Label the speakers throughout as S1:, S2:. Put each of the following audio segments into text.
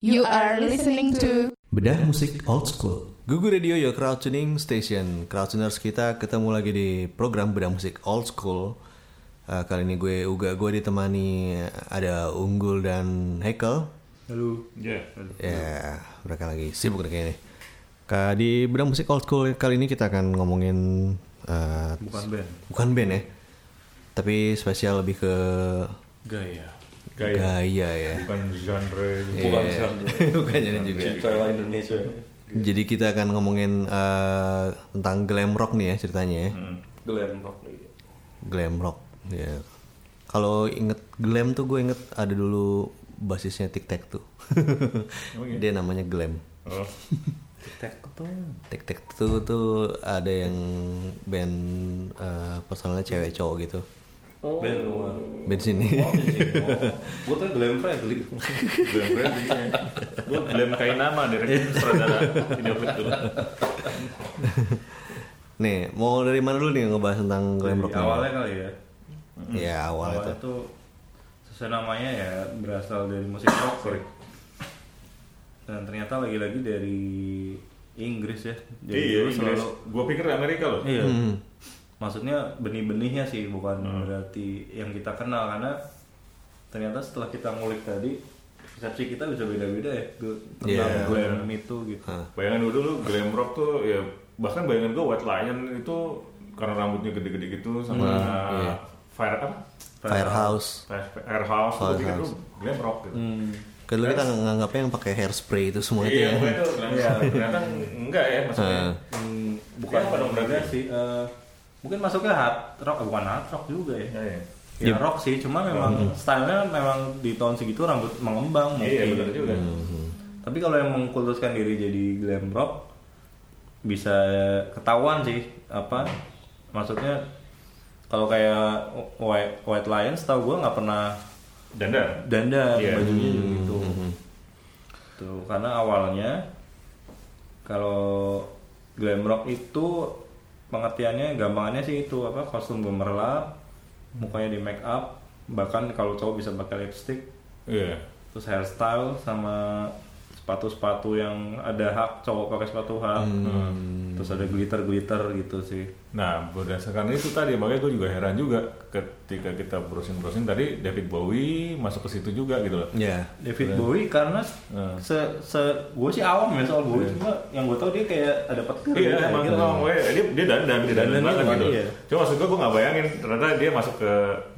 S1: You are listening to
S2: Bedah musik old school.
S3: Gugu Radio Your Crowd Tuning Station Crowdtuners kita ketemu lagi di program Bedah Musik Old School Eh, Kali ini gue Uga, gue ditemani ada Unggul dan Hekel
S4: Halo.
S5: Iya.
S4: Ya.
S3: Ya, mereka lagi sibuk nih kayaknya Ka- Di Bedah Musik Old School kali ini kita akan ngomongin eh,
S4: Bukan band.
S3: Bukan band ya Tapi spesial lebih ke
S4: Gaya.
S5: Gaya. Iya.
S3: gaya ya
S5: Bukan genre.
S3: Bukan Bukan jadi juga
S4: Iya.
S5: Cerita Indonesia.
S3: Jadi kita akan ngomongin eh, tentang glam rock nih ya ceritanya ya
S5: Glam rock.
S3: glam rock ya kalau inget glam tuh gue inget ada dulu basisnya Tic Tac tuh dia namanya glam
S5: Oh,
S3: Tic Tac tuh tuh ada yang band eh, personalnya cewek cowok gitu
S5: band luar.
S3: band sini
S4: iya.
S5: Gue tuh glam friendly. glam friendly. Gue glam kain nama dari sutradara video klip dulu.
S3: nih mau dari mana dulu nih ngebahas tentang glam rock
S4: Jadi awalnya kali ya.
S3: ya awalnya
S4: Awalnya
S3: tuh
S4: tuh sesuai namanya ya berasal dari musik rock sorry. Dan ternyata lagi-lagi dari Inggris ya. Jadi
S5: Iya,
S4: dulu
S5: Inggris. Gue pikir Amerika loh.
S4: Iya. Maksudnya benih-benihnya sih bukan berarti yang kita kenal karena ternyata setelah kita ngulik tadi persepsi kita bisa beda-beda ya du- tentang
S3: Iya.
S4: glam itu gitu.
S5: Bayangan gue dulu glam rock tuh ya bahkan bayangan gue White Lion itu karena rambutnya gede-gede gitu sama fire apa?
S3: Firehouse
S5: Fire, firehouse. Gue pikir tuh
S3: Firehouse.
S5: glam rock gitu.
S3: kalau Kan dulu kita nganggapnya yang pakai hairspray itu semua itu
S5: Iya,
S3: ya
S5: gue tuh glam rock. Ternyata enggak ya maksudnya.
S3: Ah.
S4: Hmm, bukan
S5: Iya,
S4: pada
S5: berarti.
S4: umumnya sih eh, mungkin masuknya hard rock eh, bukan hard rock juga ya
S5: Iya, iya.
S4: ya rock sih cuma memang stylenya memang di tahun segitu rambut mengembang
S5: Iya,
S4: mungkin
S5: benar juga.
S4: tapi kalau yang mengkultuskan diri jadi glam rock bisa ketahuan sih apa maksudnya kalau kayak White, White Lion setahu gue nggak pernah
S5: Dandar.
S4: danda
S5: Iya.
S4: bajunya gitu tuh karena awalnya kalau glam rock itu pengertiannya gampangannya sih itu apa kostum gemerlap mukanya di make up bahkan kalau cowok bisa pakai lipstick
S5: Iya.
S4: terus hairstyle sama sepatu-sepatu yang ada hak cowok pakai sepatu hak terus ada glitter glitter gitu sih
S5: Nah, berdasarkan itu tadi, makanya gue juga heran juga ketika kita browsing-browsing tadi David Bowie masuk ke situ juga gitu loh.
S3: ya
S4: David Bowie karena
S5: Hmm.
S4: se se gue sih awam ya soal Bowie cuma yang gue tau dia kayak ada petir gitu,
S5: Iya,
S4: kayak
S5: emang
S4: gitu.
S5: emang, gue- dia dia dandan, dia dandan
S4: Dandan
S5: banget
S4: banget,
S5: gitu.
S4: iya.
S5: Cuma maksud gue gue nggak bayangin ternyata dia masuk ke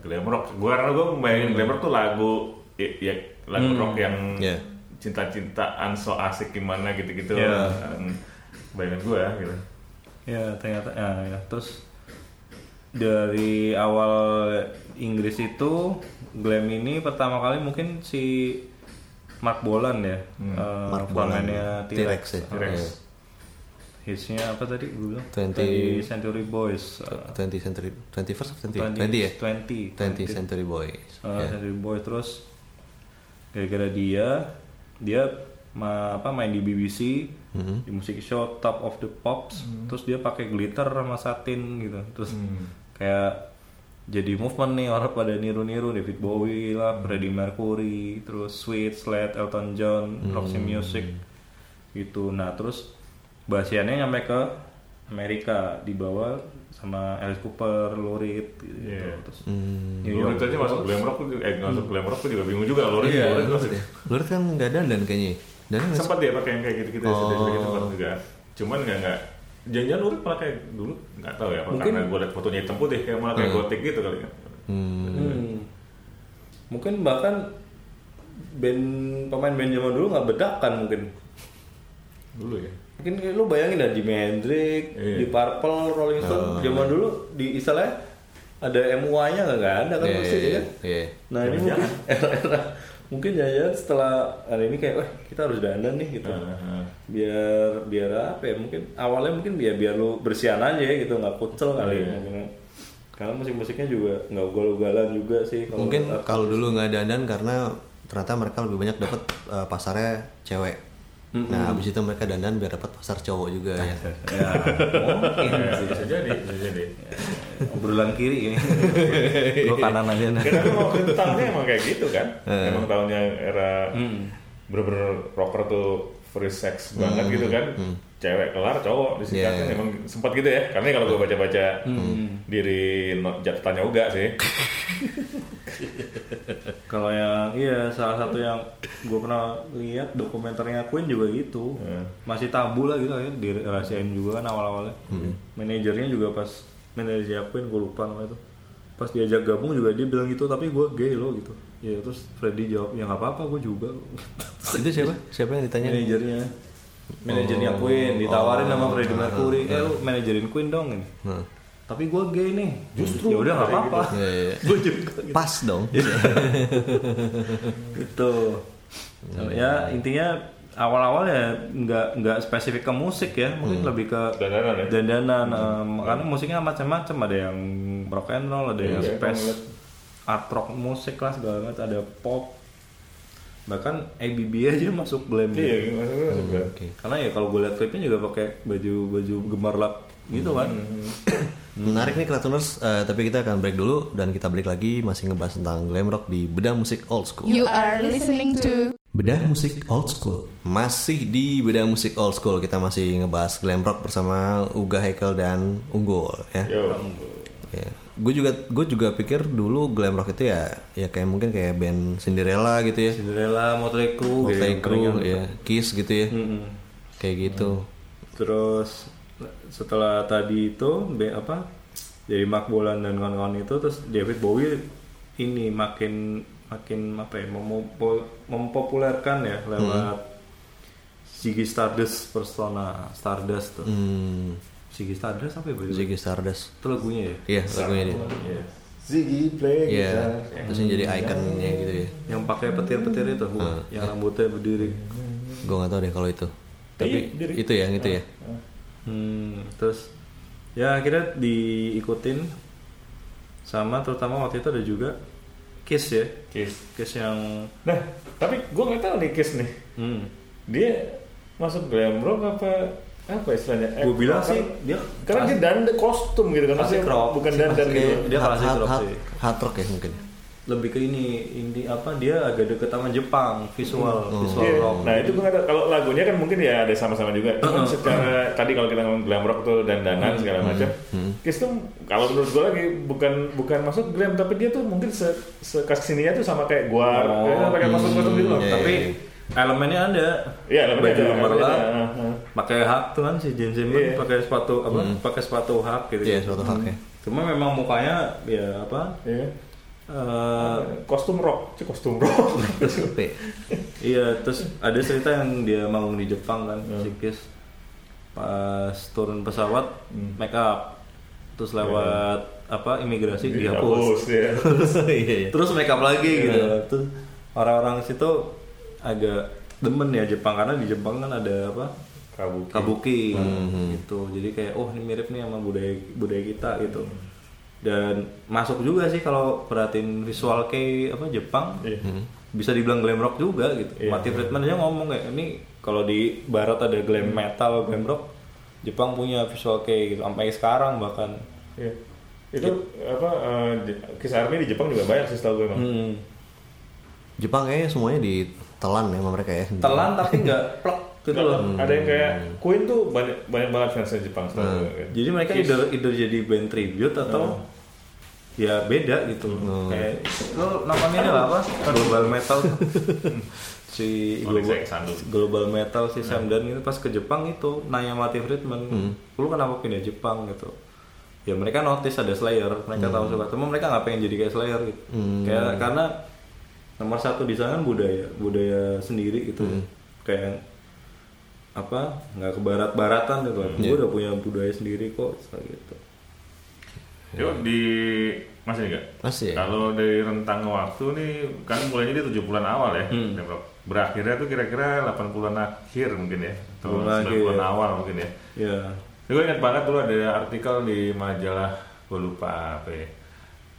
S5: glam rock. Gue karena gue bayangin glam rock tuh lagu ya, ya, lagu rock yang
S3: Iya.
S5: cinta-cintaan so asik gimana gitu-gitu.
S4: Iya.
S5: Hmm, Bayangan gue gitu.
S4: Ya ternyata ya, ya. terus dari awal Inggris itu glam ini pertama kali mungkin si Mark Bolan ya, eh,
S3: Hmm, Mark Bolan
S4: frontman-nya
S3: T-Rex ya
S5: T-Rex.
S3: Iya.
S4: Hitsnya apa tadi gue bilang?
S3: 20
S4: 20 Century Boys. eh,
S3: 20 century 21st of 20
S4: 20,
S3: 20 ya
S4: 20,
S3: 20 century boys
S4: Eh,
S3: ya.
S4: Century Boys terus gara-gara dia dia ma- apa main di BBC di musik show Top of the Pops
S5: Mm-hmm.
S4: terus dia pakai glitter sama satin gitu terus kayak jadi movement nih orang pada niru-niru David Bowie lah
S5: Mm-hmm.
S4: Freddie Mercury terus Sweet Slade Elton John Roxy Music gitu nah terus bahasiannya nyampe ke Amerika dibawa sama Alice Cooper, Lurid gitu,
S5: Iya.
S4: terus New
S5: Lurid
S4: York
S5: aja masuk glam rock, tuh- eh masuk glam rock tuh juga bingung juga Lurid.
S4: Iya,
S5: Lurid
S3: Lurid
S5: masuk-
S3: ya. Lurid kan nggak dandan kayaknya. Dan
S5: sempat dia pakai yang kayak gitu-gitu ya,
S3: Oh.
S5: sedikit-sedikit sempat juga cuman nggak nggak jangan-jangan Lurik malah kayak dulu nggak tahu ya apa
S4: Mungkin-
S5: karena gue liat fotonya hitam putih kayak malah kayak gotik gitu kali ya
S4: Hmm. Mungkin bahkan band pemain band zaman dulu nggak bedakan mungkin.
S5: dulu ya
S4: Mungkin kayak lu bayangin dah Jimi Hendrix,
S5: Iya.
S4: di Purple, Rolling
S3: Ah.
S4: Stone zaman dulu di istilahnya ada MUA-nya nggak ada kan
S3: Iya,
S4: musik
S3: iya,
S4: ya.
S3: iya.
S4: Nah ini mungkin era-era mungkin jangan setelah hari ini kayak, wah kita harus dandan nih gitu.
S3: Ah,
S5: Heeh.
S4: biar biar apa ya mungkin awalnya mungkin biar biar lu bersihan aja ya gitu nggak kucel kali
S3: Iya.
S4: ya mungkin. karena musik-musiknya juga nggak ugal-ugalan juga sih kalau
S3: Mungkin
S4: menurut aku.
S3: kalau dulu nggak dandan karena ternyata mereka lebih banyak dapat eh, pasarnya cewek. Nah, habis itu mereka dandan biar dapat pasar cowok juga ya.
S4: ya mungkin sih.
S5: bisa jadi bisa jadi
S4: obrolan kiri ini gua kanan aja nah
S5: karena emang waktu itu tahunnya emang kayak gitu kan emang tahunnya kan. era bener-bener rocker tuh free sex banget gitu kan cewek kelar cowok disingkatin
S3: Iya, iya.
S5: emang sempat gitu ya karena kalau gue baca-baca diri no- catatan yoga sih
S4: Kalau yang iya salah satu yang gue pernah lihat dokumenternya Queen juga gitu.
S5: Hmm.
S4: Masih tabu lah gitu ya dirahasiain juga kan awal-awalnya. Manajernya juga pas manajernya Queen gue lupa namanya tuh. Pas diajak gabung juga dia bilang gitu tapi gue gay loh gitu. Ya terus Freddy jawab ya nggak apa-apa gue juga.
S3: Itu siapa? Siapa yang ditanya?
S4: manajernya manajernya
S5: Oh.
S4: Queen ditawarin sama Freddie Mercury,
S5: Nah.
S4: "Eh lu manajerin Queen dong." Ini.
S3: Hmm.
S4: Tapi gue gay nih. Justru ya udah nggak apa-apa.
S3: Iya, iya, iya.
S4: Gue juga gitu.
S3: Pas dong.
S4: gitu
S5: Nah.
S4: ya intinya awal-awal ya nggak nggak spesifik ke musik ya mungkin
S5: Hmm.
S4: lebih ke
S5: Dandanan ya?
S4: dandanan em, karena musiknya macam-macam ada yang rock and roll ada yang
S5: Iya, aku
S4: space
S5: ngeliat.
S4: art rock musik lah segala macam ada pop bahkan ABB aja masuk glam
S5: iya
S4: gitu.
S5: gimana gua juga
S4: karena ya kalau gue lihat klipnya juga pakai baju baju gemerlap gitu kan
S3: Menarik nih Kratuners, eh, tapi kita akan break dulu dan kita balik lagi masih ngebahas tentang glam rock di bedah musik old school.
S1: You are listening to
S2: Bedah musik old school.
S3: Masih di beda musik old school kita masih ngebahas glam rock bersama Uga Hekel dan Unggul ya.
S5: yo
S3: Gue juga gue juga pikir dulu glam rock itu ya ya kayak mungkin kayak band Cinderella gitu ya.
S4: Cinderella, Motley Crue,
S3: Motley
S4: gitu Iya, yang
S3: Crue
S4: paling-
S3: ya, Kiss gitu ya.
S4: Mm-mm.
S3: Kayak gitu.
S4: Terus setelah tadi itu be apa? Jadi Mark Bolan dan kawan-kawan itu terus David Bowie ini makin makin apa ya mempo- mempopulerkan ya lewat Ziggy Stardust persona Stardust tuh.
S3: Hmm,
S4: Ziggy Stardust apa ya? Boy?
S3: Ziggy Stardust.
S4: Itu lagunya ya.
S3: Iya, lagunya dia.
S4: Iya.
S5: Ziggy play
S3: Iya,
S4: ya.
S3: terus yang jadi ikonnya gitu ya.
S4: Yang pakai petir-petir itu, Bu,
S3: Hmm.
S4: yang rambutnya berdiri.
S3: Gue nggak tahu deh kalau itu.
S4: Iya,
S3: Tapi itu ya, yang itu ya.
S4: Hmm, terus ya akhirnya diikutin sama terutama waktu itu ada juga Kiss ya.
S5: kiss
S4: Kiss yang
S5: nah tapi gue nggak tahu nih kiss nih
S4: hmm,
S5: dia masuk glam rock apa apa istilahnya Eh,
S4: Gua bilang
S5: rocker.
S4: sih, dia
S5: karena dia dandan kostum gitu kan
S4: Pasti
S5: maksudnya
S4: crop.
S5: bukan dandan
S4: Pasti
S5: gitu
S4: kayak- Kan Dia
S3: Hard-
S4: klasik
S3: hard-
S4: rock
S3: hard-
S4: sih.
S3: hard rock ya mungkin.
S4: lebih ke ini ini apa dia agak deket sama Jepang visual visual
S5: Iya.
S4: rock. Uh-huh.
S5: Nah itu gue nggak tahu. kalau lagunya kan mungkin ya ada sama-sama juga. Cuman secara tadi kalau kita ngomong glam rock tuh dan danan segala macam,
S4: Uh-huh.
S5: Kiss tuh kalau menurut gue lagi bukan bukan masuk glam tapi dia tuh mungkin se, se kesininya tuh sama kayak gua
S4: Oh,
S5: kayak pakai masuk masuk gitu loh.
S3: iya,
S5: Tapi
S4: Tapi elemennya ada.
S5: Iya, elemennya Uh-huh.
S4: Baju
S5: ada,
S4: gemerlap,
S5: elemennya ada, heeh.
S4: Pakai hak tuh kan si James Simon
S5: Iya.
S4: pakai sepatu apa? Pakai sepatu hak gitu.
S3: Iya, suatu hak ya.
S4: Cuma memang mukanya ya apa?
S5: iya.
S4: eh,
S5: kostum rock, Cih, kostum rock.
S4: Iya, terus ada cerita yang dia manggung di Jepang kan, si Kiss. Pas turun pesawat, make up. Terus lewat apa imigrasi dihapus.
S5: Dihapus, ya.
S3: Iya, iya.
S4: Terus make up lagi gitu. Terus orang-orang situ agak demen ya Jepang karena di Jepang kan ada apa?
S5: Kabuki.
S4: kabuki gitu. Jadi kayak oh ini mirip nih sama budaya budaya kita gitu. Dan masuk juga sih kalau perhatiin visual kayak apa Jepang.
S5: Iya.
S4: Hmm? Bisa dibilang glam rock juga gitu. Mati Friedman aja ngomong kayak ini kalau di barat ada glam metal, glam rock, Jepang punya visual kayak gitu sampai sekarang bahkan.
S5: Iya. Itu apa eh, di- Kiss Army di Jepang juga banyak sih setahu gue emang.
S4: Hmm.
S3: Jepang kayaknya semuanya ditelan ya sama mereka ya.
S4: Telan tapi nggak plek gitu
S5: Nggak,
S4: loh. Hmm.
S5: Ada yang kayak Queen tuh banyak banyak banget fansnya Jepang setahu gue. kan.
S4: Jadi mereka either, either jadi band tribute atau ya beda gitu. Kayak lo namanya ini lah apa? Global metal. si
S5: Onyx
S4: global,
S5: X Sandun.
S4: global metal
S5: Nah.
S4: si Sam Dan itu pas ke Jepang itu nanya Mati Friedman, lu kenapa pindah Jepang gitu? Ya mereka notice ada Slayer, mereka tahu suka, cuma mereka nggak pengen jadi kayak Slayer gitu. Kayak karena nomor satu di sana kan budaya budaya sendiri gitu, kayak apa nggak ke barat-baratan gitu kan. Gue udah punya budaya sendiri kok gitu.
S5: Yo di masih enggak?
S4: Iya.
S3: Masih ya?
S5: Kalau dari rentang waktu nih kan mulainya di 70-an awal ya.
S4: Hmm.
S5: Depok. Berakhirnya tuh kira-kira 80-an akhir mungkin ya. Atau 90-an
S4: Mulai, iya.
S5: awal mungkin ya.
S4: Ya.
S5: Ini Gue ingat banget dulu ada artikel di majalah gue lupa apa ya.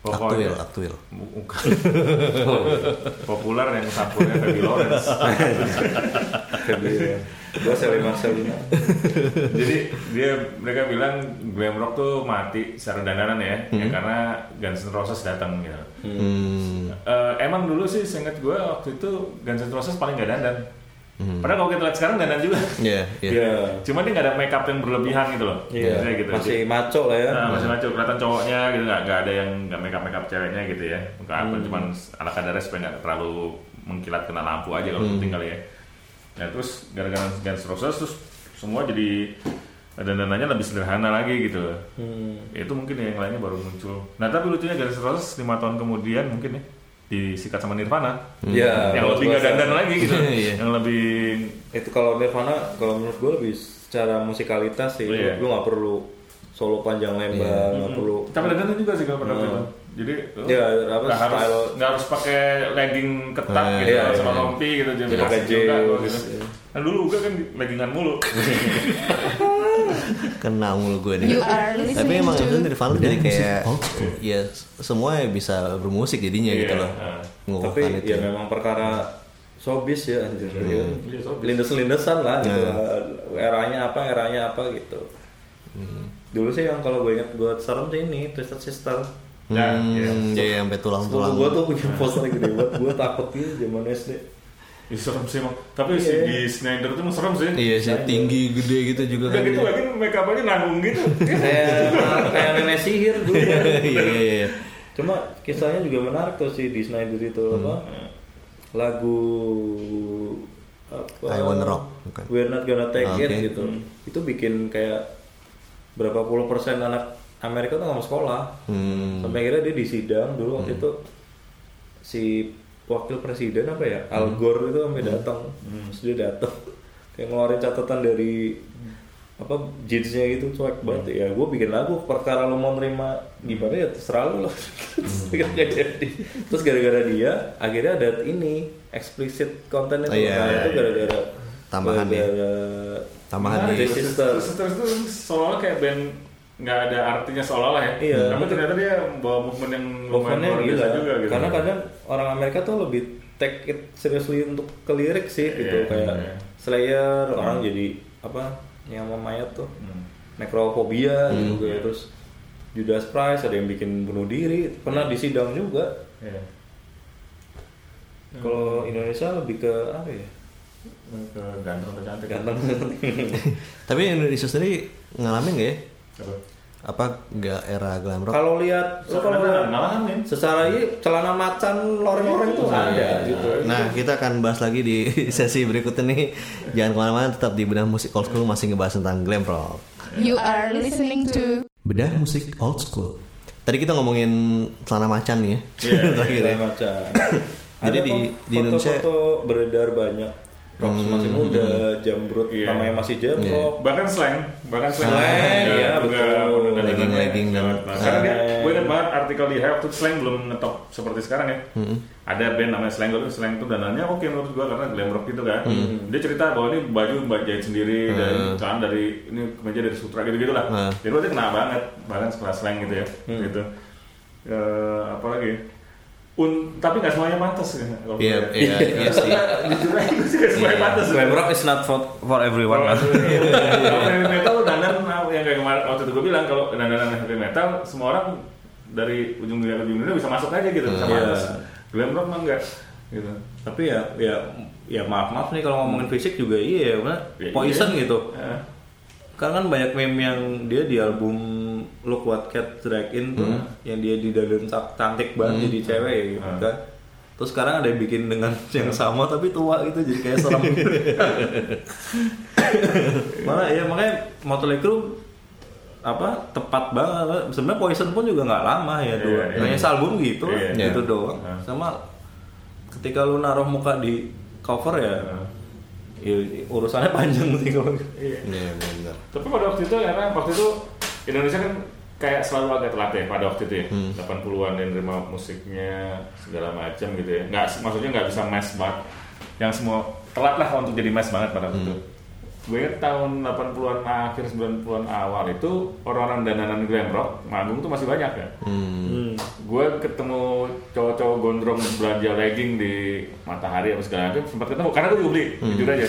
S3: Aktuil, aktuil.
S5: Bukan. populer yang sampulnya Feby Lawrence.
S4: Gue Sally Marcelina.
S5: Jadi dia mereka bilang glam rock tuh mati secara dandanan ya, ya karena Guns N' Roses datang gitu.
S3: Hmm.
S5: Eh, emang dulu sih seingat gue waktu itu Guns N' Roses paling gak dandan Padahal kalau kita lihat sekarang dandan juga.
S3: Iya, iya.
S4: Iya.
S5: Cuma dia nggak ada make up yang berlebihan gitu loh.
S4: Iya.
S5: Maksudnya gitu.
S4: Masih maco lah ya.
S5: Nah, masih ngaco kelihatan cowoknya gitu nggak nggak ada yang nggak make up make up ceweknya gitu ya. Muka apa
S4: Hmm.
S5: cuman ala kadarnya supaya nggak terlalu mengkilat kena lampu aja kalau
S4: Hmm.
S5: penting kali ya. Nah terus gara-gara Guns N' Roses terus semua jadi dandanannya lebih sederhana lagi gitu loh.
S4: Hmm.
S5: Itu mungkin yang lainnya baru muncul. Nah tapi lucunya Guns N' Roses 5 tahun kemudian mungkin ya disikat sama Nirvana.
S4: Iya.
S5: yang lebih nggak dandan lagi gitu.
S3: Iya.
S5: yang lebih
S4: Itu kalau Nirvana kalau menurut gue lebih secara musikalitas sih.
S5: Iya.
S4: Lu nggak perlu solo panjang lebar, nggak perlu.
S5: tapi dandan juga sih kalau pada
S4: Hmm.
S5: gua. Jadi oh,
S4: Ya,
S5: Iya.
S4: apa,
S5: nggak harus
S4: style
S5: nggak harus pakai legging ketat
S3: Nah,
S5: gitu
S4: iya,
S5: sama
S4: iya.
S5: rompi gitu jadi
S4: Pakai
S5: kasih juga
S4: jeans,
S5: gitu.
S4: iya.
S5: Nah, dulu juga kan leggingan mulu.
S3: Kena mulu gue nih.
S1: You are
S3: Tapi
S1: listening
S3: emang itu
S1: to
S3: Nirvana jadi
S2: Musik
S3: kayak
S2: old school.
S3: ya semua bisa bermusik jadinya
S5: Iya,
S3: gitu loh.
S5: nah.
S3: Mengukuhkan
S4: Tapi ya memang perkara showbiz ya anjir. Ya. Lindes-lindesan lah gitu. Eranya apa, eranya apa gitu. Dulu sih yang kalau gue inget gue serem sih ini Twisted Sister.
S5: Nah, iya.
S3: Hmm, iya, sampai tulang-tulang.
S4: Sepupu gue tuh punya poster gede banget, gue takut gitu zaman SD.
S5: Ih, serem sih emang. Tapi si
S4: Hmm. Iya.
S5: di Snyder tuh emang serem sih.
S3: Iya sih, tinggi gede gitu juga
S5: Udah
S3: kan.
S5: gitu lagi make up aja nanggung gitu.
S4: Kayak kayak nenek sihir dulu.
S3: Iya iya iya.
S4: Cuma kisahnya juga menarik tuh si di Snyder itu apa?
S3: Hmm.
S4: Lagu apa?
S3: I Wanna Rock, bukan.
S4: We're not gonna take
S3: Ah, oke.
S4: it gitu. Itu bikin kayak berapa puluh persen anak Amerika tuh nggak mau sekolah.
S3: Hmm.
S4: Sampai akhirnya dia disidang dulu waktu itu si wakil presiden apa ya
S3: Hmm.
S4: Al Gore itu sampai datang, terus dia datang kayak ngeluarin catatan dari apa jeansnya gitu cuek banget
S3: Hmm.
S4: ya gue bikin lagu perkara lo mau nerima gimana ya terserah
S3: Hmm.
S4: lo lah Terus akhirnya jadi. terus gara-gara dia akhirnya ada ini explicit konten
S3: Oh,
S4: itu
S3: iya,
S4: Nah,
S3: iya,
S4: itu
S3: iya.
S4: gara-gara
S3: Tambahan ya.
S4: gara-gara
S3: Tambahan
S4: Nah,
S3: nih.
S4: The Sisters.
S5: Sisters tuh seolah-olah kayak band nggak ada artinya seolah-olah ya.
S4: Iya.
S5: Tapi ternyata dia bawa movement yang lumayan
S4: Pokoknya
S5: luar biasa
S4: gila.
S5: juga gitu.
S4: Karena kadang orang Amerika tuh lebih take it seriously untuk ke lirik sih gitu
S5: Iya,
S4: kayak
S5: iya.
S4: Slayer orang jadi apa yang sama mayat tuh
S5: Hmm.
S4: necrophobia
S5: Iya.
S4: gitu kayak. terus Judas Priest ada yang bikin bunuh diri pernah disidang juga
S5: Iya. Hmm.
S4: kalau Indonesia lebih ke apa ya
S5: Ke ganteng atau cantik.
S4: ganteng
S3: Tapi Indonesia sendiri ngalamin gak ya?
S5: Apa?
S3: Apa nggak era glam rock?
S4: kalau lihat lo kalau
S5: Sebenarnya
S4: lihat
S5: ngalamin.
S4: secara ini celana macan loreng-loreng
S5: Iya.
S4: tuh ada gitu
S3: Nah, kita akan bahas lagi di sesi berikutnya nih. Jangan kemana-mana, tetap di bedah musik old school masih ngebahas tentang glam rock.
S1: You are listening to
S2: Bedah musik old school.
S3: Tadi kita ngomongin celana macan nih ya.
S4: Iya,
S3: Terakhir ya.
S4: Segala macam.
S3: Jadi
S4: Ada
S3: di-
S4: kok
S3: di Indonesia- Hmm.
S4: foto-foto beredar banyak. Rock masih muda, jambrut
S5: Iya.
S4: namanya masih jambrok.
S5: bahkan slang bahkan slang
S4: Slang,
S5: Juga-
S4: iya,
S5: juga
S4: betul.
S5: udah ada
S3: Legging,
S5: namanya.
S3: legging dan-
S5: Nah, karena dia
S4: Slang.
S5: gue ingat banget artikel di Help tuh slang belum ngetop seperti sekarang ya ada band namanya slang dulu slang tuh dananya oke menurut gue karena glam rock gitu kan dia cerita bahwa ini baju mbak jahit sendiri dan celana dari ini kemeja dari sutra gitu gitu lah
S3: Hmm.
S5: jadi berarti kena banget bahkan sekelas slang gitu ya gitu Eh, apalagi Un, tapi nggak semuanya pantas kan? kalau
S3: Iya,
S5: gue-
S3: iya, iya sih.
S5: Jujur aja, nggak semuanya pantas.
S4: Glam rock is not for, for everyone. kan?
S5: Iya, Kalau heavy metal dandan yang kayak kemarin waktu itu gue bilang kalau dandanan heavy metal semua orang dari ujung dunia ke ujung dunia bisa masuk aja gitu bisa
S4: Iya.
S5: pantas. Glam rock mah enggak gitu.
S4: Tapi ya ya ya maaf maaf nih kalau ngomongin fisik juga iya ya, bener.
S5: Ya,
S4: poison
S5: iya.
S4: gitu.
S5: Eh,
S4: Karena kan banyak meme yang dia di album Look What Cat Drag In tuh yang dia di dalam cantik banget jadi cewek ya gitu kan. Terus sekarang ada yang bikin dengan yang sama tapi tua gitu jadi kayak serem. Malah ya makanya Motley Crue apa tepat banget sebenarnya Poison pun juga nggak lama
S5: Iya,
S4: ya dua
S5: iya.
S4: hanya album gitu
S5: Iya,
S3: iya.
S4: gitu doang
S5: Nah.
S4: sama ketika lu naruh muka di cover ya, ya urusannya panjang sih kalau gitu.
S5: iya.
S3: Iya, benar.
S5: Tapi pada waktu itu karena waktu itu Indonesia kan kayak selalu agak telat ya pada waktu itu ya 80-an yang nerima musiknya segala macam gitu ya nggak maksudnya nggak bisa mass banget yang semua telat lah untuk jadi mass banget pada waktu itu gue ingat tahun 80-an akhir 90-an awal itu orang-orang dandanan glam rock manggung tuh masih banyak ya gue ketemu cowok-cowok gondrong belanja legging di matahari apa segala macam sempat ketemu karena gue juga beli jujur aja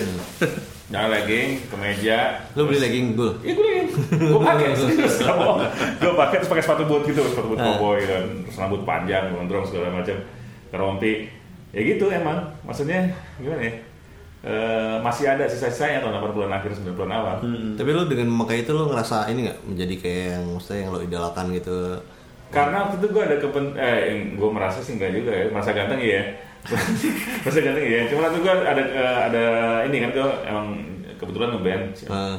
S5: Nah, legging, kemeja,
S3: Lu beli legging gul?
S5: Iya gue liat, gue pakai serius, gak bohong. Gue pakai terus pakai sepatu boot gitu, sepatu boot cowboy dan terus rambut panjang, gondrong segala macam, rompi. Ya gitu emang, maksudnya gimana ya? eh, masih ada sisa-sisanya tahun 80-an akhir 90-an awal.
S3: Tapi lo dengan memakai itu lo ngerasa ini nggak menjadi kayak yang maksudnya yang lo idolakan gitu?
S5: Karena waktu itu gue ada kepen, eh, yang gue merasa sih enggak juga ya, merasa ganteng ya, merasa ganteng ya. Cuma waktu gue ada eh, ada ini kan gue emang kebetulan ngeband.
S4: Iya.
S3: Heeh. Eh,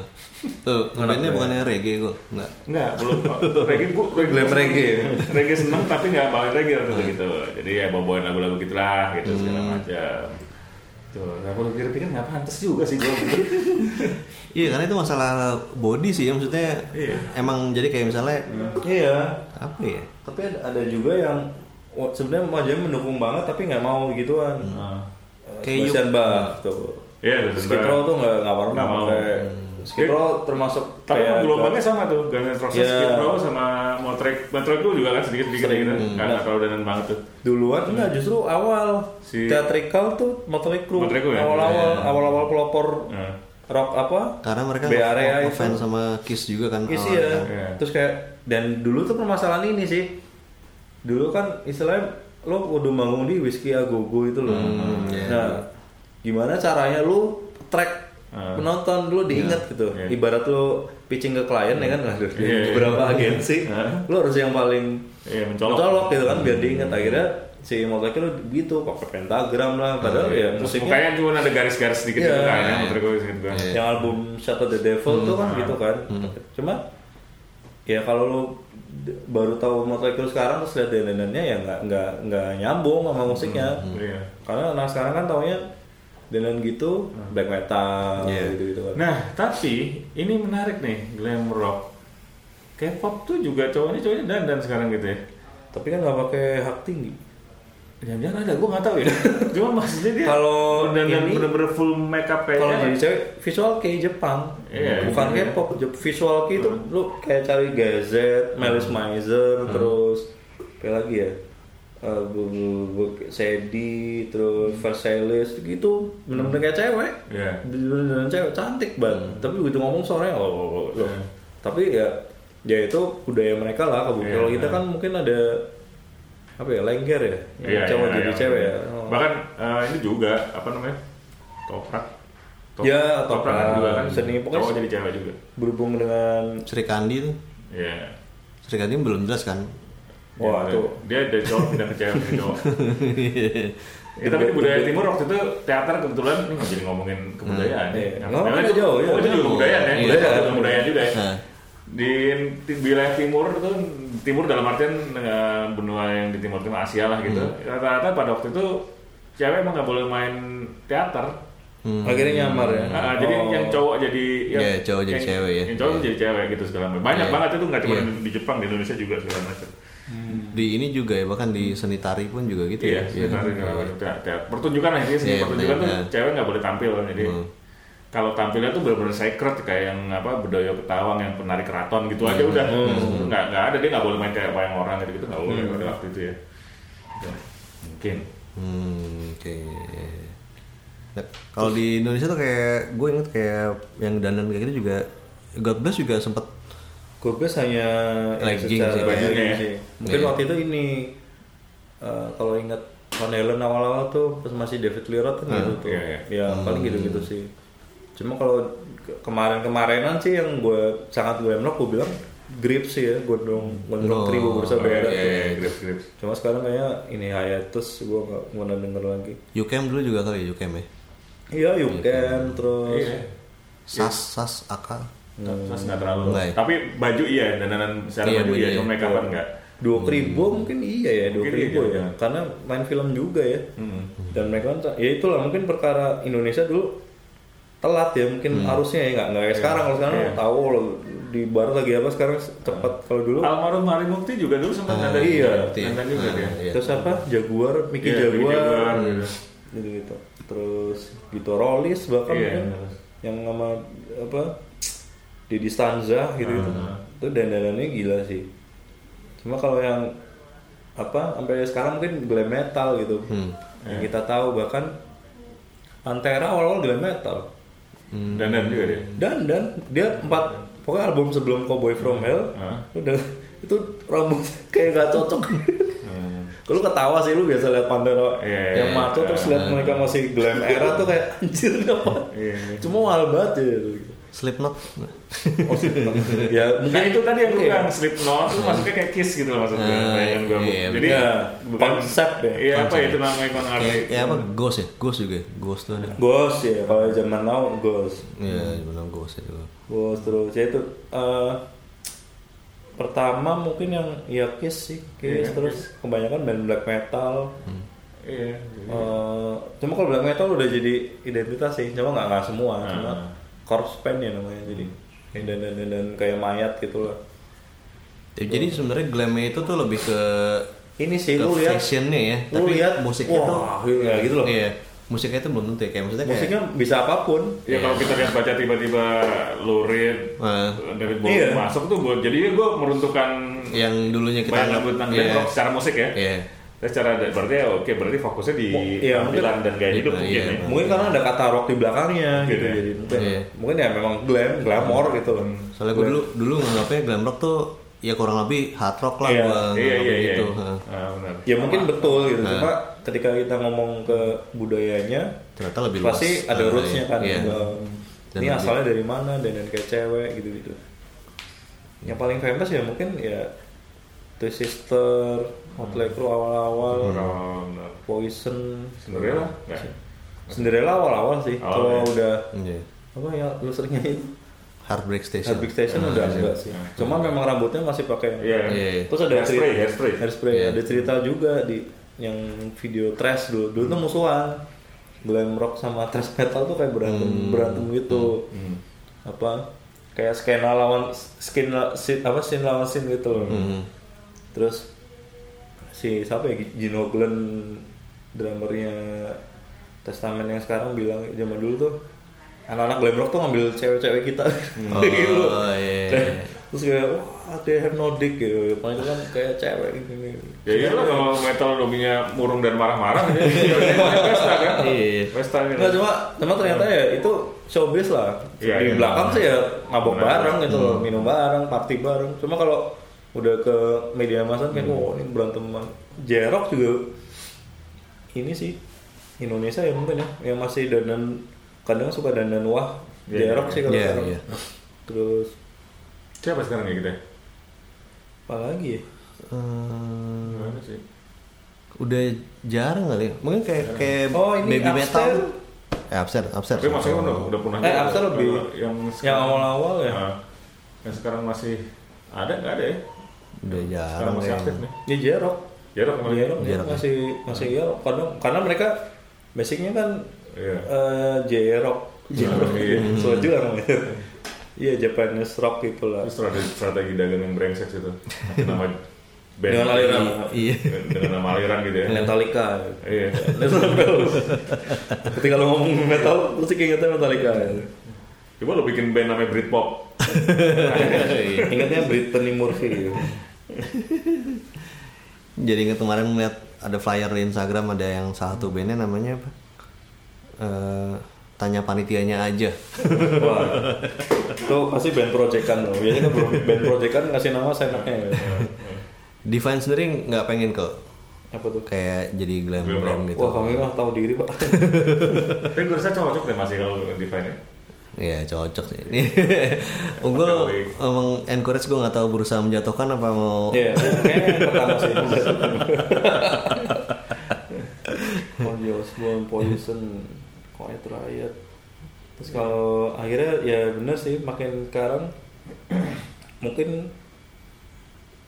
S3: tuh,
S4: ya.
S3: ngebandnya bukannya reggae kok, nggak?
S5: Enggak, belum. Reggae gue reggae,
S3: Belum
S5: seneng.
S3: reggae.
S5: Reggae seneng tapi nggak balik reggae waktu
S4: Iya.
S5: itu gitu. Jadi ya bawain lagu-lagu gitulah gitu
S4: Hmm.
S5: segala macam. Tuh, nah kalau pikir-pikir nggak pantas juga sih gue.
S3: Iya, karena itu masalah body sih, ya. maksudnya emang jadi kayak misalnya
S4: Iya,
S3: apa ya?
S4: tapi ada, ada juga yang wa- sebenarnya wajahnya mendukung banget tapi nggak mau gituan
S5: Nah.
S3: Kayak
S4: hmm. kayak Sebastian Bach tuh
S5: Iya, Sebastian
S4: Skid
S5: Bach.
S4: Row tuh nggak nggak pernah
S5: Nggak mau. Iya.
S4: pakai
S3: Hmm.
S4: Skid Row termasuk
S5: tapi
S4: kayak-
S5: gelombangnya sama tuh, Guns N' Roses,
S4: Iya.
S5: Skid Row sama Motrek. Motrek tuh juga kan sedikit-sedikit
S4: Sering. Hmm.
S5: gitu. Kan nggak terlalu danan banget tuh.
S4: duluan enggak justru awal
S5: Hmm. Si-
S4: theatrical tuh Motley Crue
S5: Motley Crue ya?
S4: awal-awal awal-awal pelopor
S5: Nah.
S4: rock apa
S3: Iya. Karena mereka
S4: Bay Area E itu.
S3: ngefans sama Kiss juga kan.
S4: Isi
S3: awalnya
S4: ya.
S3: kan.
S5: Iya.
S4: Terus kayak dan dulu tuh permasalahan ini sih. Dulu kan istilahnya lo udah bangun di whiskey agogo itu loh.
S5: Hmm,
S3: iya.
S4: Nah, gimana caranya lo track
S5: Hmm.
S4: penonton lo diingat gitu.
S5: iya.
S4: Ibarat lo pitching ke klien ya kan ada di
S5: Iya, iya.
S4: beberapa agensi,
S5: Hmm.
S4: lo harus yang paling
S5: Iya, mencolok.
S4: gitu kan biar diingat
S5: Hmm.
S4: akhirnya si Motlaki lo gitu pakai pentagram lah padahal
S5: Ah, iya.
S4: ya musiknya
S5: Mukanya cuma ada garis-garis sedikit
S4: Iya.
S5: gitu kan ya, Motrek gue sedikit kan.
S4: yang album Shadow the Devil tuh kan gitu kan cuma ya kalau lu d- baru tahu Motley Crue sekarang terus lihat dandanannya ya nggak nggak nggak nyambung sama musiknya
S5: Iya.
S4: karena anak sekarang kan taunya dandan gitu black metal
S3: Iya.
S4: gitu gitu kan
S5: Nah, tapi ini menarik nih, glam rock. K-pop tuh juga cowoknya cowoknya dandan sekarang gitu ya.
S4: tapi kan nggak pakai hak tinggi
S5: Jangan-jangan ada, gue gak tahu ya. Cuma maksudnya dia
S4: Kalau
S5: dandan
S4: ini-
S5: bener-bener full makeup kayak
S4: kalau jadi cewek visual kayak Jepang
S5: Iya,
S4: bukan
S5: iya. Hmm.
S4: K-pop Jep- visual kayak itu lu kayak cari Gazette, Melis Miser, terus apa lagi ya Eh, bu, bu, bu, Sedi, terus Versailles gitu bener-bener kayak cewek
S5: Hmm. Iya. Hmm.
S4: bener-bener cewek cantik banget tapi begitu ngomong sore oh, oh, oh,
S5: Iya.
S4: loh. tapi ya ya itu budaya mereka lah kebun
S5: Iya,
S4: kalau kita
S5: iya.
S4: kan mungkin ada apa ya lengger ya yang
S5: Iya,
S4: cowok
S5: iya,
S4: jadi
S5: iya.
S4: cewek ya Oh.
S5: Bahkan eh, ini juga apa namanya? Toprak. Top-
S4: Ya,
S5: toprak kan
S4: toprak.
S5: juga kan
S4: Seni, pokoknya
S5: cowok
S4: se-
S5: jadi cewek juga.
S4: berhubung dengan
S3: kan. Sri Kandi tuh,
S5: Iya.
S3: Sri Kandi belum jelas kan?
S4: wah
S5: Dia-
S4: tuh
S5: Dia dari cowok pindah ke cewek dari cowok. Ya, tapi di budaya
S3: Iya.
S5: timur waktu itu teater kebetulan ini nggak jadi ngomongin
S3: Hmm.
S5: kebudayaan
S4: Iya.
S5: ya.
S4: Ngomongin
S5: Karena itu-
S4: jauh, iya.
S5: oh, itu juga kebudayaan ya.
S3: Iya.
S5: Itu juga kebudayaan juga ya.
S3: Nah.
S5: Di, di wilayah timur itu timur dalam artian eh, benua yang di timur timur Asia lah gitu.
S3: Hmm.
S5: Rata-rata pada waktu itu cewek emang nggak boleh main teater.
S4: akhirnya nyamar ya
S5: Ah, ah, Jadi
S4: Oh.
S5: yang cowok jadi yang,
S3: Hmm. Iya, cowok jadi
S5: yang-
S3: cewek ya.
S5: Yang cowok
S3: Iya.
S5: jadi cewek gitu segala macam. Banyak
S3: Iya.
S5: banget itu nggak cuma
S3: Iya.
S5: di- di Jepang, di Indonesia juga segala macam.
S3: Di ini juga ya, bahkan di seni tari pun juga gitu ya.
S5: Iya, sebenarnya
S3: kan?
S5: nggak boleh. Tidak- tidak. Pertunjukan lah intinya seni
S3: Iya,
S5: pertunjukan tuh
S3: iya.
S5: cewek nggak boleh tampil kan jadi kalau tampilnya tuh benar-benar sacred kayak yang apa bedoyo ketawang yang penari keraton gitu aja udah nggak nggak ada dia nggak boleh main kayak wayang orang gitu gitu nggak boleh pada waktu itu ya Gitu. mungkin
S3: Hmm, oke. Nah, kalau di Indonesia tuh kayak gue inget kayak yang dandan kayak gitu juga God bless juga sempet
S4: Oh. Gorbes hanya
S3: Legging sih,
S4: secara-
S5: bajunya ya.
S4: sih. Mungkin
S3: Iya.
S4: waktu itu ini eh, kalau ingat Van Halen awal-awal tuh pas masih David Lee Roth kan gitu tuh.
S5: iya, iya.
S4: Ya paling gitu-gitu sih. Cuma kalau ke- kemarin-kemarinan sih yang gue sangat gue emang gue bilang grip sih ya gondrong
S3: Oh,
S4: gondrong tribu bursa
S5: Iya,
S4: berat.
S5: iya, iya, grips grips
S4: Cuma sekarang kayaknya ini hiatus gue nggak mau denger lagi.
S3: UKM dulu juga kali ya UKM ya.
S4: Iya, you can terus
S5: Iya.
S3: Sas sas akal.
S5: terus nggak terlalu
S3: Nggak ya?
S5: tapi baju iya dandanan secara
S3: Iya,
S5: baju
S3: baju
S5: iya
S3: iya.
S5: cuma make upan nggak
S4: dua kribo mungkin iya ya dua
S5: Oh, Mungkin
S4: kribo
S5: iya,
S4: ya
S5: iya.
S4: karena main film juga ya
S5: Hmm.
S4: dan mereka kan ya itulah mungkin perkara Indonesia dulu telat ya mungkin arusnya ya nggak nggak kayak sekarang kalau sekarang
S5: Hmm. Iya.
S4: tahu loh, di barat lagi apa sekarang cepat kalau dulu
S5: almarhum Mari Mukti juga dulu sempat dandan
S4: iya,
S5: juga, dandan juga dia
S3: iya.
S4: terus apa Jaguar Mickey
S5: Iya, Mickey
S4: Jaguar,
S5: Jaguar, gitu.
S4: gitu gitu terus gitu Rollis bahkan
S5: Iya.
S4: mungkin yang sama apa Didi Stanza gitu gitu itu dandanannya gila sih cuma kalau yang apa sampai sekarang mungkin glam metal gitu yang kita tahu bahkan Pantera awal-awal glam metal
S5: dandan juga dia
S4: dan dan dia empat pokoknya album sebelum Cowboy from Hell
S5: Hmm.
S4: udah itu rambut kayak gak cocok
S5: Hmm.
S4: Lu ketawa sih lu biasa lihat Pandora yang maco terus lihat mereka masih glam era tuh kayak anjir apa?
S5: Iya.
S4: Cuma mahal banget ya. gitu.
S3: Slipknot.
S4: Oh, Slipknot. ya
S3: Nah,
S4: mungkin itu tadi yang gue bilang Slipknot tuh maksudnya kayak kiss gitu loh maksudnya.
S3: iya. Ah,
S4: yang gue
S3: iya,
S4: Jadi
S3: bener.
S4: bukan konsep deh. Iya apa
S3: Konsep.
S4: itu namanya kon arti.
S3: Kayak- Ya apa? Ghost ya? Ghost juga. Ghost tuh ada.
S4: Ghost ya kalau zaman now ghost.
S3: Iya, benar ghost itu.
S4: Ghost terus ya itu eh, pertama mungkin yang ya kiss sih kiss Hmm. terus kebanyakan band black metal.
S5: Iya.
S4: Eh, cuma kalau black metal udah jadi identitas sih, cuma nggak nggak semua, cuma corpse paint ya namanya jadi dan dan dan, kayak mayat gitu lah.
S3: Ya, Jadi sebenarnya glamnya itu tuh lebih ke
S4: Ini sih
S3: ke
S4: Hmm. lu lihat,
S3: fashionnya ya.
S4: lu
S3: Tapi
S4: lihat
S3: musiknya tuh
S4: wah, iya, gitu loh.
S3: Iya, musiknya itu belum tentu ya. Kayak maksudnya kayak
S4: Musiknya bisa apapun.
S5: Ya kalau
S3: Iya.
S5: kita lihat baca tiba-tiba lurid
S3: eh,
S5: David Bowie
S4: Iya.
S5: masuk tuh buat jadi gue meruntuhkan
S3: yang dulunya Iya, kita
S5: banyak
S3: anggap-
S5: lagu tentang
S3: iya.
S5: band rock secara musik ya.
S3: Iya.
S5: Tapi secara ada- berarti ya oke berarti fokusnya di
S4: Mu- iya,
S5: tampilan dan gaya
S3: Iya,
S5: hidup mungkin
S3: iya.
S5: ya.
S4: Mungkin karena ada kata rock di belakangnya gitu,
S5: Gitu ya.
S4: jadi mungkin
S3: Iya. Hmm.
S4: mungkin ya memang glam, glamor gitu loh.
S3: Soalnya gue dulu dulu nganggapnya glam rock tuh ya kurang lebih hard rock lah
S4: Iya,
S3: gua
S5: Iya
S3: nganggapnya
S5: iya iya.
S3: gitu. Heeh.
S5: Ah, benar.
S4: Ya mungkin betul gitu,
S3: Ah.
S4: cuma ketika kita ngomong ke budayanya
S3: Ternyata lebih luas.
S4: pasti ada
S3: Ah,
S4: rootsnya
S3: iya.
S4: kan
S3: Iya.
S4: Ehm,
S3: Dan
S4: ini
S3: lebih-
S4: asalnya dari mana dan dan kayak cewek gitu gitu yang paling famous ya mungkin ya Two Sister Motley Crue awal-awal
S3: Hmm.
S5: Oh, benar.
S4: Poison
S5: Sebenarnya lah. nggak?
S4: Cinderella awal-awal sih
S5: Awal
S4: kalau
S5: ya.
S4: udah
S3: Iya.
S4: apa ya lu sering nyanyiin
S3: Heartbreak Station.
S4: Heartbeat Station udah enggak sih cuma memang rambutnya masih
S5: Ah,
S4: pakai
S5: Iya.
S3: Iya, iya.
S4: terus ada
S5: Hairspray,
S4: cerita
S5: hairspray.
S4: hairspray ada cerita juga di yang video trash dulu dulu tuh musuhan glam rock sama trash metal tuh kayak berantem
S5: Hmm.
S4: berantem gitu apa kayak skena lawan skin sin, apa scene lawan scene gitu loh
S5: Hmm.
S3: Mm-hmm.
S4: terus si siapa ya Gino Glenn drummernya Testament yang sekarang bilang zaman dulu tuh anak-anak glam rock tuh ngambil cewek-cewek kita
S3: Oh,
S4: gitu
S3: iya.
S4: terus kayak wah they have no dick gitu paling itu kan kayak cewek gitu
S5: Ya iyalah kalau metal dominya murung dan marah-marah ya. Iya, Pesta kan.
S3: Iya.
S5: Pesta gitu.
S4: Nggak, cuma cuma ternyata ya itu showbiz lah
S5: Iya,
S4: di
S5: iya.
S4: belakang sih ya mabok
S5: Benar. Hmm.
S4: bareng gitu loh minum bareng party bareng cuma kalau udah ke media massa
S5: Hmm.
S4: kayak oh ini berantem jerok juga ini sih Indonesia ya mungkin ya yang masih dandan kadang suka dandan wah
S5: Iya,
S4: jerok
S5: iya.
S4: sih kalau
S3: Iya,
S4: sekarang
S3: iya.
S4: terus
S5: Siapa sekarang ya kita?
S4: apa lagi ya
S3: Eh,
S4: Hmm.
S5: Gimana sih?
S3: udah jarang kali. ya. Mungkin kayak kayak
S4: Oh, ini
S3: baby metal.
S4: Upstairs.
S3: Eh, upstairs, upstairs.
S5: Tapi maksudnya udah, udah pernah
S4: Eh,
S5: juga.
S4: Absal lebih-
S5: yang
S4: yang
S5: sekarang-
S4: awal-awal ya
S5: Nah, yang sekarang masih ada nggak ada ya?
S3: Udah
S5: Sekarang
S3: jarang.
S5: masih
S3: kayaknya.
S5: aktif nih.
S4: ya jerok
S5: Ya dong, kemarin.
S4: Jerok,
S3: Jerok, ya.
S4: masih masih jerok kadang karena mereka basicnya kan
S5: Iya.
S4: eh, jerok jerok
S5: iya.
S4: soju lah namanya iya Japanese rock gitu lah
S5: Terus strategi, strategi dagang yang brengsek itu. Nama band gitu.
S4: Dengan aliran.
S3: Iya.
S5: Dengan nama aliran gitu ya.
S4: Metallica
S5: Iya.
S4: ketika lo ngomong metal terus ingatnya Metallica
S5: Coba lo bikin band namanya Britpop.
S3: Iya.
S4: ingatnya Brittany Murphy gitu.
S3: Jadi ingat kemarin ngeliat ada flyer di Instagram ada yang salah satu bandnya namanya apa? Eh, tanya panitianya aja.
S4: wah itu pasti band projekan loh biasanya kan band projekan ngasih nama seenaknya
S3: Iya.
S4: ya.
S3: Divine sendiri nggak pengen kok
S4: apa tuh
S3: kayak jadi glam
S5: Glam
S3: glam
S5: rock.
S3: gitu.
S4: wah kami mah tahu diri pak
S5: Tapi gue rasa cocok deh masih kalau Divine ya.
S3: Ya cocok sih. Ini unggul
S5: Pakai wig.
S3: emang encourage gue nggak tahu berusaha menjatuhkan apa mau
S4: Iya, kayaknya yang pertama sih. Ozzy Osbourne, Poison, Quiet Riot. Terus kalau akhirnya ya bener sih makin sekarang mungkin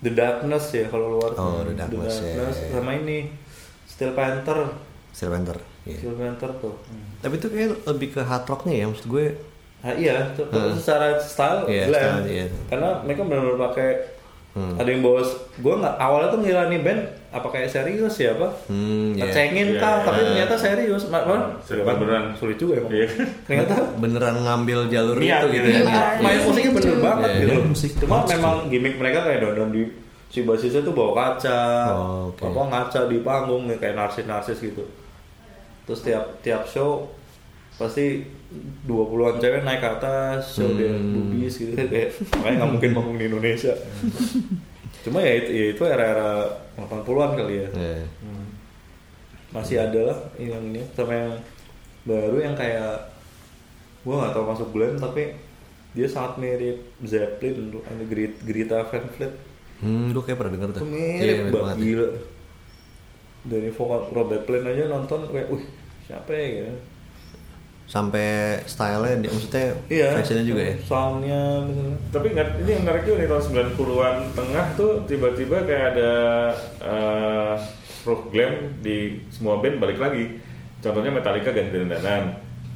S4: The Darkness ya kalau luar
S3: Oh, The Darkness, ya.
S4: sama ini Steel Panther,
S3: Serpenter. Iya.
S4: Steel Panther tuh.
S3: Tapi itu kayak lebih ke hard rocknya ya maksud gue.
S4: Ah, iya, tuh, tuh secara style
S3: Iya,
S4: glam.
S3: style, iya. Hmm.
S4: Karena mereka benar-benar pakai ada yang bawa gue nggak awalnya tuh ngira nih band apa kayak serius ya apa
S3: Hmm, ya.
S5: Iya,
S4: ngecengin kah
S5: iya. Hmm,
S4: tapi ternyata serius Ma- ma-
S5: Serius beneran.
S4: sulit juga ya Bang.
S5: Iya.
S4: ternyata
S3: Beneran ngambil jalur
S5: Niat,
S3: itu gitu
S1: niat.
S3: ya.
S5: iya.
S3: niat.
S4: Iya, main musiknya bener banget
S3: Iya,
S4: gitu
S3: iya.
S4: loh.
S6: Musik
S4: cuma
S6: old school.
S4: memang gimmick mereka kayak dondon di si basisnya tuh bawa kaca
S3: Oh, oke.
S4: apa ngaca di panggung nih, kayak narsis-narsis gitu terus tiap tiap show pasti 20-an cewek naik
S3: Hmm.
S4: ke atas show dia boobies gitu kayak makanya nggak mungkin manggung di Indonesia Cuma ya itu, ya itu era-era 80-an kali ya.
S3: Iya.
S4: Masih ada lah yang ini sama yang baru yang kayak gua gak tau masuk Glenn tapi dia sangat mirip Zeppelin untuk Greta Van Fleet.
S3: Hmm, gue kayak pernah denger tuh.
S4: Itu mirip banget
S3: ya.
S4: gila. Dari vokal Robert Plant aja nonton kayak, wih siapa ya gitu.
S3: Sampai stylenya, dia, maksudnya
S4: Iya.
S3: fashionnya juga ya.
S4: Soundnya misalnya.
S5: Tapi nggak- ini yang menarik juga nih tahun 90-an tengah tuh tiba-tiba kayak ada eh rock glam di semua band balik lagi. Contohnya Metallica ganti dandanan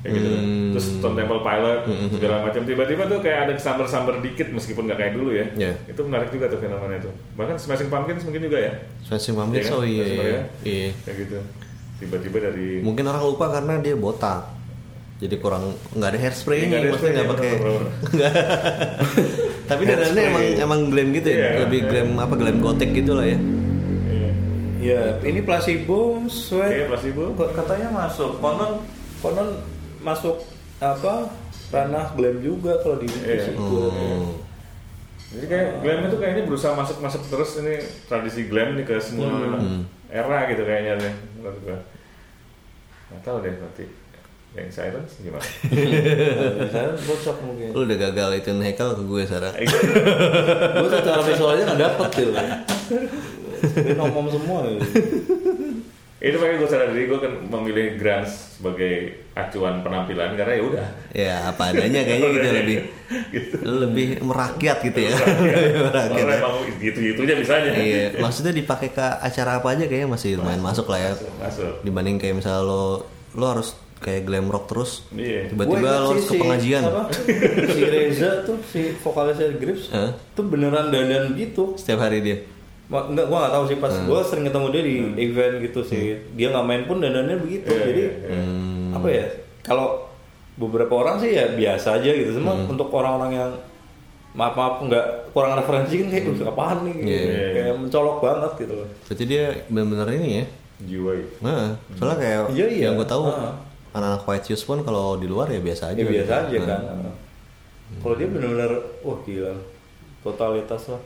S5: kayak gitu.
S3: Hmm.
S5: Terus Stone Temple Pilot segala macam tiba-tiba tuh kayak ada samber-samber dikit meskipun nggak kayak dulu ya.
S3: Iya.
S5: Itu menarik juga tuh fenomena itu. Bahkan Smashing Pumpkins mungkin juga ya.
S3: Smashing Pumpkins,
S5: Iya kan?
S3: oh iya,
S5: Smashing
S3: iya.
S5: Pumpkins.
S3: iya.
S5: Kayak gitu. Tiba-tiba dari
S3: Mungkin orang lupa karena dia botak. Jadi kurang nggak ada
S5: Iya, Nggak
S3: hairspray-nya,
S5: ada
S3: maksudnya nggak pakai.
S5: hairspray-nya, bener-bener.
S3: Nggak. Tapi dandanannya emang
S5: Hairspray.
S3: emang glam gitu ya,
S5: Iya.
S3: lebih glam apa glam gotik gitu lah ya.
S5: Iya.
S4: Ya, ini placebo, sweat.
S5: Iya, placebo.
S4: Kok Katanya masuk. Konon, konon masuk apa? Ranah glam juga kalau di
S5: Iya.
S4: placebo.
S3: Hmm.
S5: Jadi kayak glam itu kayaknya berusaha masuk-masuk terus ini tradisi glam nih ke semua
S4: Hmm.
S5: era gitu kayaknya nih menurut gua. Nggak tahu deh nanti yang silence gimana?
S4: Nah, Saya bocok mungkin.
S3: Lu udah gagal itu Haikal ke gue sekarang.
S4: Gue secara visualnya nggak dapet gitu. Dia ngomong semua. gitu.
S5: itu makanya gue sadar diri gue kan memilih Grants sebagai acuan penampilan karena ya udah
S3: Ya apa adanya kayaknya gitu lebih
S5: Gitu.
S3: lu lebih merakyat gitu ya. merakyat.
S5: orang emang gitu-gitunya bisanya
S3: Iya, maksudnya dipakai ke acara apa aja kayaknya masih lumayan masuk lah ya.
S5: masuk
S3: Dibanding kayak misal lo lo harus kayak glam rock terus,
S5: Iya.
S3: tiba-tiba
S4: Gua ingat
S3: lo
S4: sih
S3: harus ke
S4: si-
S3: pengajian.
S4: apa? Si Reza tuh si vokalisnya Grips
S3: Hah?
S4: tuh beneran dandan gitu.
S3: Setiap hari dia.
S4: Ma- Enggak, gua gak tahu sih pas gua sering ketemu dia di event gitu sih.
S3: Hmm.
S4: Dia nggak main pun dandannya begitu.
S5: Iya,
S4: Jadi
S5: iya, iya.
S4: apa ya? Kalau beberapa orang sih ya biasa aja gitu. Cuma
S3: Hmm.
S4: untuk orang-orang yang maaf maaf nggak kurang referensi kan kayak "Duh, apaan nih gitu.
S3: Hmm. Iya,
S5: iya,
S4: kayak mencolok banget gitu loh.
S3: Berarti dia benar-benar ini ya.
S5: jiwa itu
S3: Nah, soalnya kayak
S4: Iya, iya.
S3: yang gue tahu
S4: Ah.
S3: anak-anak white shoes pun kalau di luar ya biasa aja.
S4: Ya biasa aja
S3: Nah.
S4: kan. Kalau dia benar-benar wah gila totalitas lah.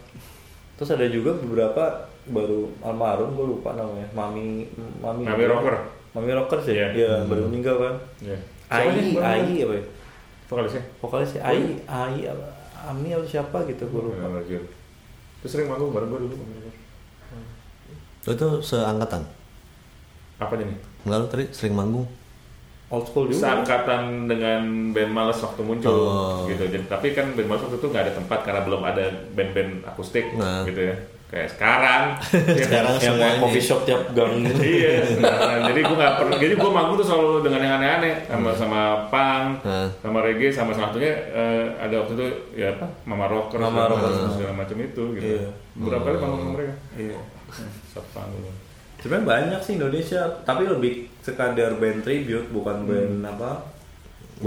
S4: Terus ada juga beberapa baru almarhum gue lupa namanya mami mami
S5: Mami Rocker.
S4: mami rocker sih
S5: Iya.
S4: ya baru meninggal kan
S5: ya
S4: Ai Ai apa ya
S5: vokalisnya
S4: vokalis si Ai Ai apa Ami atau siapa gitu gue lupa
S5: Nah, Jun. Terus sering manggung bareng gue dulu
S3: Nah, Lo itu seangkatan.
S5: apa nih
S3: Enggak lo tadi sering manggung.
S4: old school juga
S5: seangkatan dengan band Males waktu muncul
S3: Oh.
S5: gitu Jadi- tapi kan band Males waktu itu nggak ada tempat karena belum ada band-band akustik
S3: Nah.
S5: gitu ya kayak sekarang ya,
S3: Sekarang
S5: ya,
S4: yang mau
S3: semuanya.
S4: coffee shop tiap gang
S5: iya sekarang. jadi gue nggak pernah jadi gue manggung tuh selalu dengan yang aneh-aneh sama sama punk
S3: Nah.
S5: sama reggae sama salah satunya eh, ada waktu itu ya apa mama rocker
S4: Mama
S5: segala
S4: Rocker.
S5: macam- segala macam itu gitu
S4: Iya.
S5: berapa kali panggung sama mereka
S4: Iya.
S5: satu panggung
S4: sebenarnya banyak sih Indonesia tapi lebih sekadar band tribute bukan band apa gue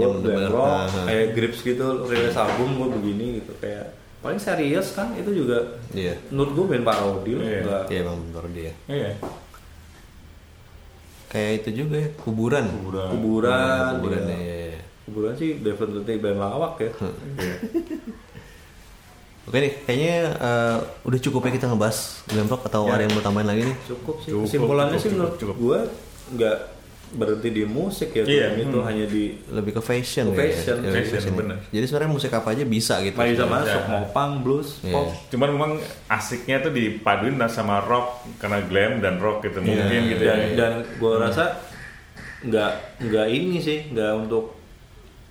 S3: Hmm. Yang
S4: band
S3: bener-bener,
S4: rock
S3: aha.
S4: kayak grips gitu rilis album gue begini gitu kayak paling serius kan itu juga
S3: Iya.
S4: menurut gue band parodi lah
S5: Iya.
S4: nggak-
S3: Iya emang benar dia.
S5: iya
S3: Kayak itu juga ya, kuburan.
S5: Kuburan.
S4: kuburan
S3: Kuburan
S4: iya.
S3: ya. iya, iya.
S4: kuburan sih definitely band lawak ya
S5: Iya.
S3: Oke nih, kayaknya eh, udah cukup ya kita ngebahas glam rock atau
S4: Iya.
S3: ada yang mau tambahin lagi nih?
S4: cukup sih
S5: Cukup,
S4: kesimpulannya
S5: cukup,
S4: sih menurut
S5: cukup,
S4: gue nggak berhenti di musik ya
S5: Iya,
S4: Glam itu
S3: Hmm.
S4: hanya di
S3: Lebih ke fashion.
S4: Ke
S3: kayaknya.
S4: fashion,
S3: Iya,
S5: fashion, bener.
S3: Jadi sebenarnya musik apa aja bisa gitu.
S4: mari bisa masuk
S5: Iya.
S4: mau punk blues
S3: Iya.
S4: pop
S5: Cuman memang asiknya tuh dipaduin sama rock karena glam dan rock
S4: Iya,
S5: gitu mungkin gitu
S3: Iya,
S4: dan,
S5: ya.
S4: dan gue
S3: Hmm.
S4: rasa nggak nggak ini sih nggak untuk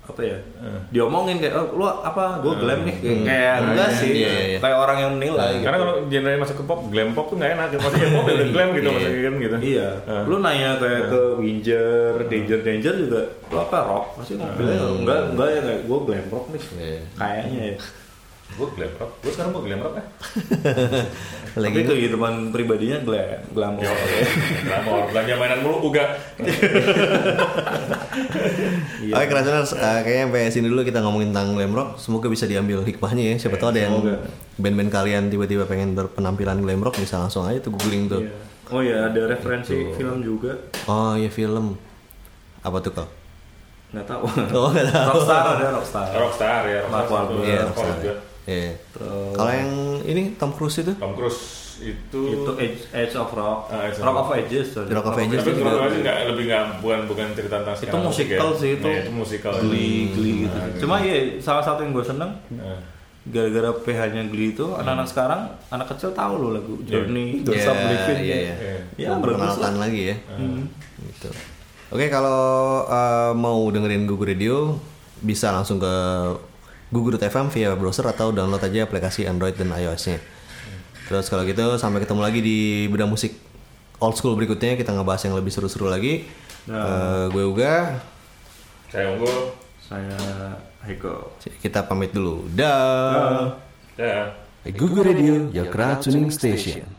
S4: apa ya
S3: Hmm.
S4: diomongin kayak oh, lu apa gue glam nih kayak kayak enggak sih
S3: iya, iya, iya.
S4: kayak orang yang menilai gitu.
S5: Karena kalau genre masuk ke pop, glam pop tuh nggak enak. Maksudnya pop dan glam gitu maksudnya kan gitu.
S4: iya
S3: Hmm.
S5: Eh.
S4: lu nanya kayak ke Winger danger danger juga lu apa rock pasti ngomongnya enggak enggak ya kayak gue glam rock nih
S3: Hmm. Iya.
S4: kayaknya ya
S5: Gue glam rock. Gue sekarang mau glam rock ya.
S3: Lagi Iya.
S4: tapi kehidupan pribadinya glam glam rock
S5: Glam rock. Belanja mainan mulu uga.
S4: Iya.
S3: Oke, Krasuners, eh, kayaknya sampai sini dulu kita ngomongin tentang glam rock. Semoga bisa diambil hikmahnya ya. Siapa
S4: Iya,
S3: tahu ada yang band-band kalian tiba-tiba pengen berpenampilan glam rock bisa langsung aja tuh googling tuh.
S4: Iya. oh ya ada referensi film juga
S3: Oh iya film. Apa tuh kok?
S4: nggak tahu
S3: Oh, nggak tahu.
S4: rockstar ada rockstar
S5: Rockstar ya.
S4: Mark
S5: Rockstar. Rockstar
S4: Wahlberg.
S3: Iya,
S5: juga.
S4: ya.
S3: Rockstar. Iya. Kalau yang ini Tom Cruise itu
S5: Tom Cruise itu,
S4: itu Edge, Edge of Rock,
S5: Ah, Edge of
S4: Rock
S5: Rock.
S4: of Ages, sorry.
S3: Rock of Ages
S5: tapi
S3: itu
S5: kalau
S3: juga-
S5: aja nggak lebih nggak bukan bukan cerita tentang
S4: Itu
S5: sekarang musik
S4: musikal sih itu.
S5: Nah, itu musikal
S4: Glee, Glee gitu.
S5: Ah,
S4: Cuma ya salah satu yang gue seneng
S5: Nah.
S4: gara-gara PH-nya Glee itu
S3: Hmm.
S4: anak-anak sekarang anak kecil tahu loh lagu Journey, Don't Stop Believin'.
S3: iya, iya.
S4: Ya, bagus lah. Hmm.
S3: Memperkenalkan lagi ya. Gitu. Oke, kalau eh, mau dengerin Gugu Radio bisa langsung ke gugu.fm via browser atau download aja aplikasi Android dan iOS-nya. Terus kalau gitu sampai ketemu lagi di beda musik old school berikutnya kita ngebahas yang lebih seru-seru lagi. Eh, gue Uga,
S5: saya unggul
S4: Saya Heiko.
S3: kita pamit dulu. Dah.
S5: dah ya.
S2: Google Radio, your crowd tuning station.